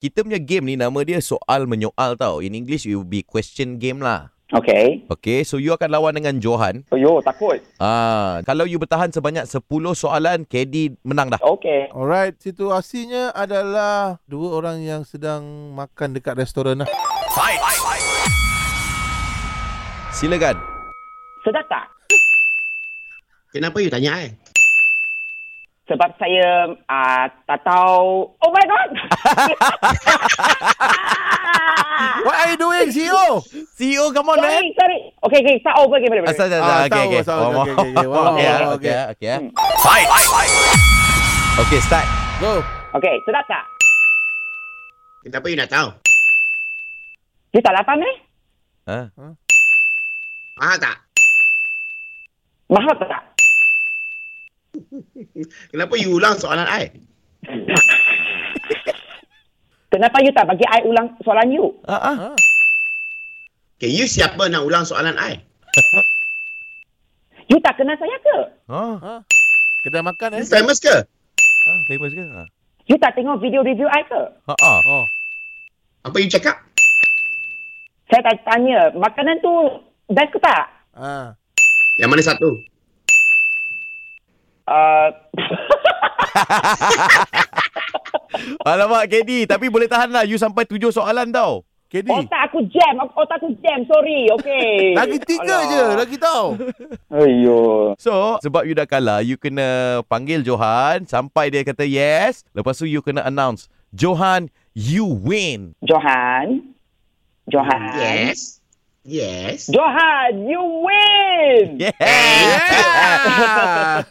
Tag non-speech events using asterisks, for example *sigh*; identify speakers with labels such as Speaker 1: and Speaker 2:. Speaker 1: Kita punya game ni nama dia soal menyoal tau. In English it will be question game lah.
Speaker 2: Okay.
Speaker 1: Okay, so you akan lawan dengan Johan.
Speaker 2: Oh, yo, takut.
Speaker 1: Ah, kalau you bertahan sebanyak 10 soalan, KD menang dah.
Speaker 2: Okay.
Speaker 3: Alright, situasinya adalah dua orang yang sedang makan dekat restoran lah.
Speaker 1: Silakan.
Speaker 2: Sedap tak?
Speaker 4: Kenapa you tanya eh?
Speaker 2: Sebab saya uh, tak tahu... Oh my
Speaker 3: *laughs*
Speaker 2: God!
Speaker 3: What are you doing, E CEO?
Speaker 1: CEO, E come on
Speaker 2: sorry, sorry. Okay, okay. Start over again. Boleh, boleh.
Speaker 1: Asal dah,
Speaker 3: Ah,
Speaker 1: dah, okay,
Speaker 3: tahu,
Speaker 1: okay.
Speaker 3: tahu,
Speaker 1: Wow.
Speaker 3: okay,
Speaker 1: *laughs*
Speaker 3: okay, okay. Wow,
Speaker 1: Okay, ah,
Speaker 3: wow,
Speaker 1: okay,
Speaker 3: okay.
Speaker 1: okay. ah. Fight. Okay, start.
Speaker 3: Go.
Speaker 2: Okay, sedap tak?
Speaker 4: Kenapa you nak tahu?
Speaker 2: You tak lapar meh?
Speaker 1: Ah,
Speaker 4: Mahal tak?
Speaker 2: Mahal tak?
Speaker 4: Kenapa you ulang soalan I?
Speaker 2: Kenapa you tak bagi I ulang soalan you?
Speaker 1: ah, ah.
Speaker 4: Okay, you siapa nak ulang soalan I?
Speaker 2: You tak kenal saya ke?
Speaker 1: Ah,
Speaker 3: Kedai makan eh?
Speaker 4: You famous ke?
Speaker 1: ah, famous ke? Ah,
Speaker 2: You tak tengok video review I ke?
Speaker 1: ah, ah.
Speaker 3: Oh.
Speaker 4: Apa you cakap?
Speaker 2: Saya tak tanya, makanan tu best ke tak?
Speaker 3: Ah.
Speaker 4: Yang mana satu?
Speaker 3: *laughs*
Speaker 2: Uh,
Speaker 1: Alamak, KD. Tapi boleh tahan lah. You sampai tujuh soalan tau.
Speaker 3: KD.
Speaker 2: otak aku jam, otak aku jam, sorry, okay.
Speaker 3: Lagi tiga je, lagi tahu.
Speaker 2: Ayo.
Speaker 1: *laughs* So, sebab you dah kalah, you kena panggil Johan sampai dia kata yes. Lepas tu, you kena announce. Johan, you win.
Speaker 2: Johan. Johan.
Speaker 4: Yes. Yes.
Speaker 2: Johan, you win!
Speaker 1: *laughs* Yeah.
Speaker 4: Yeah.
Speaker 1: yeah.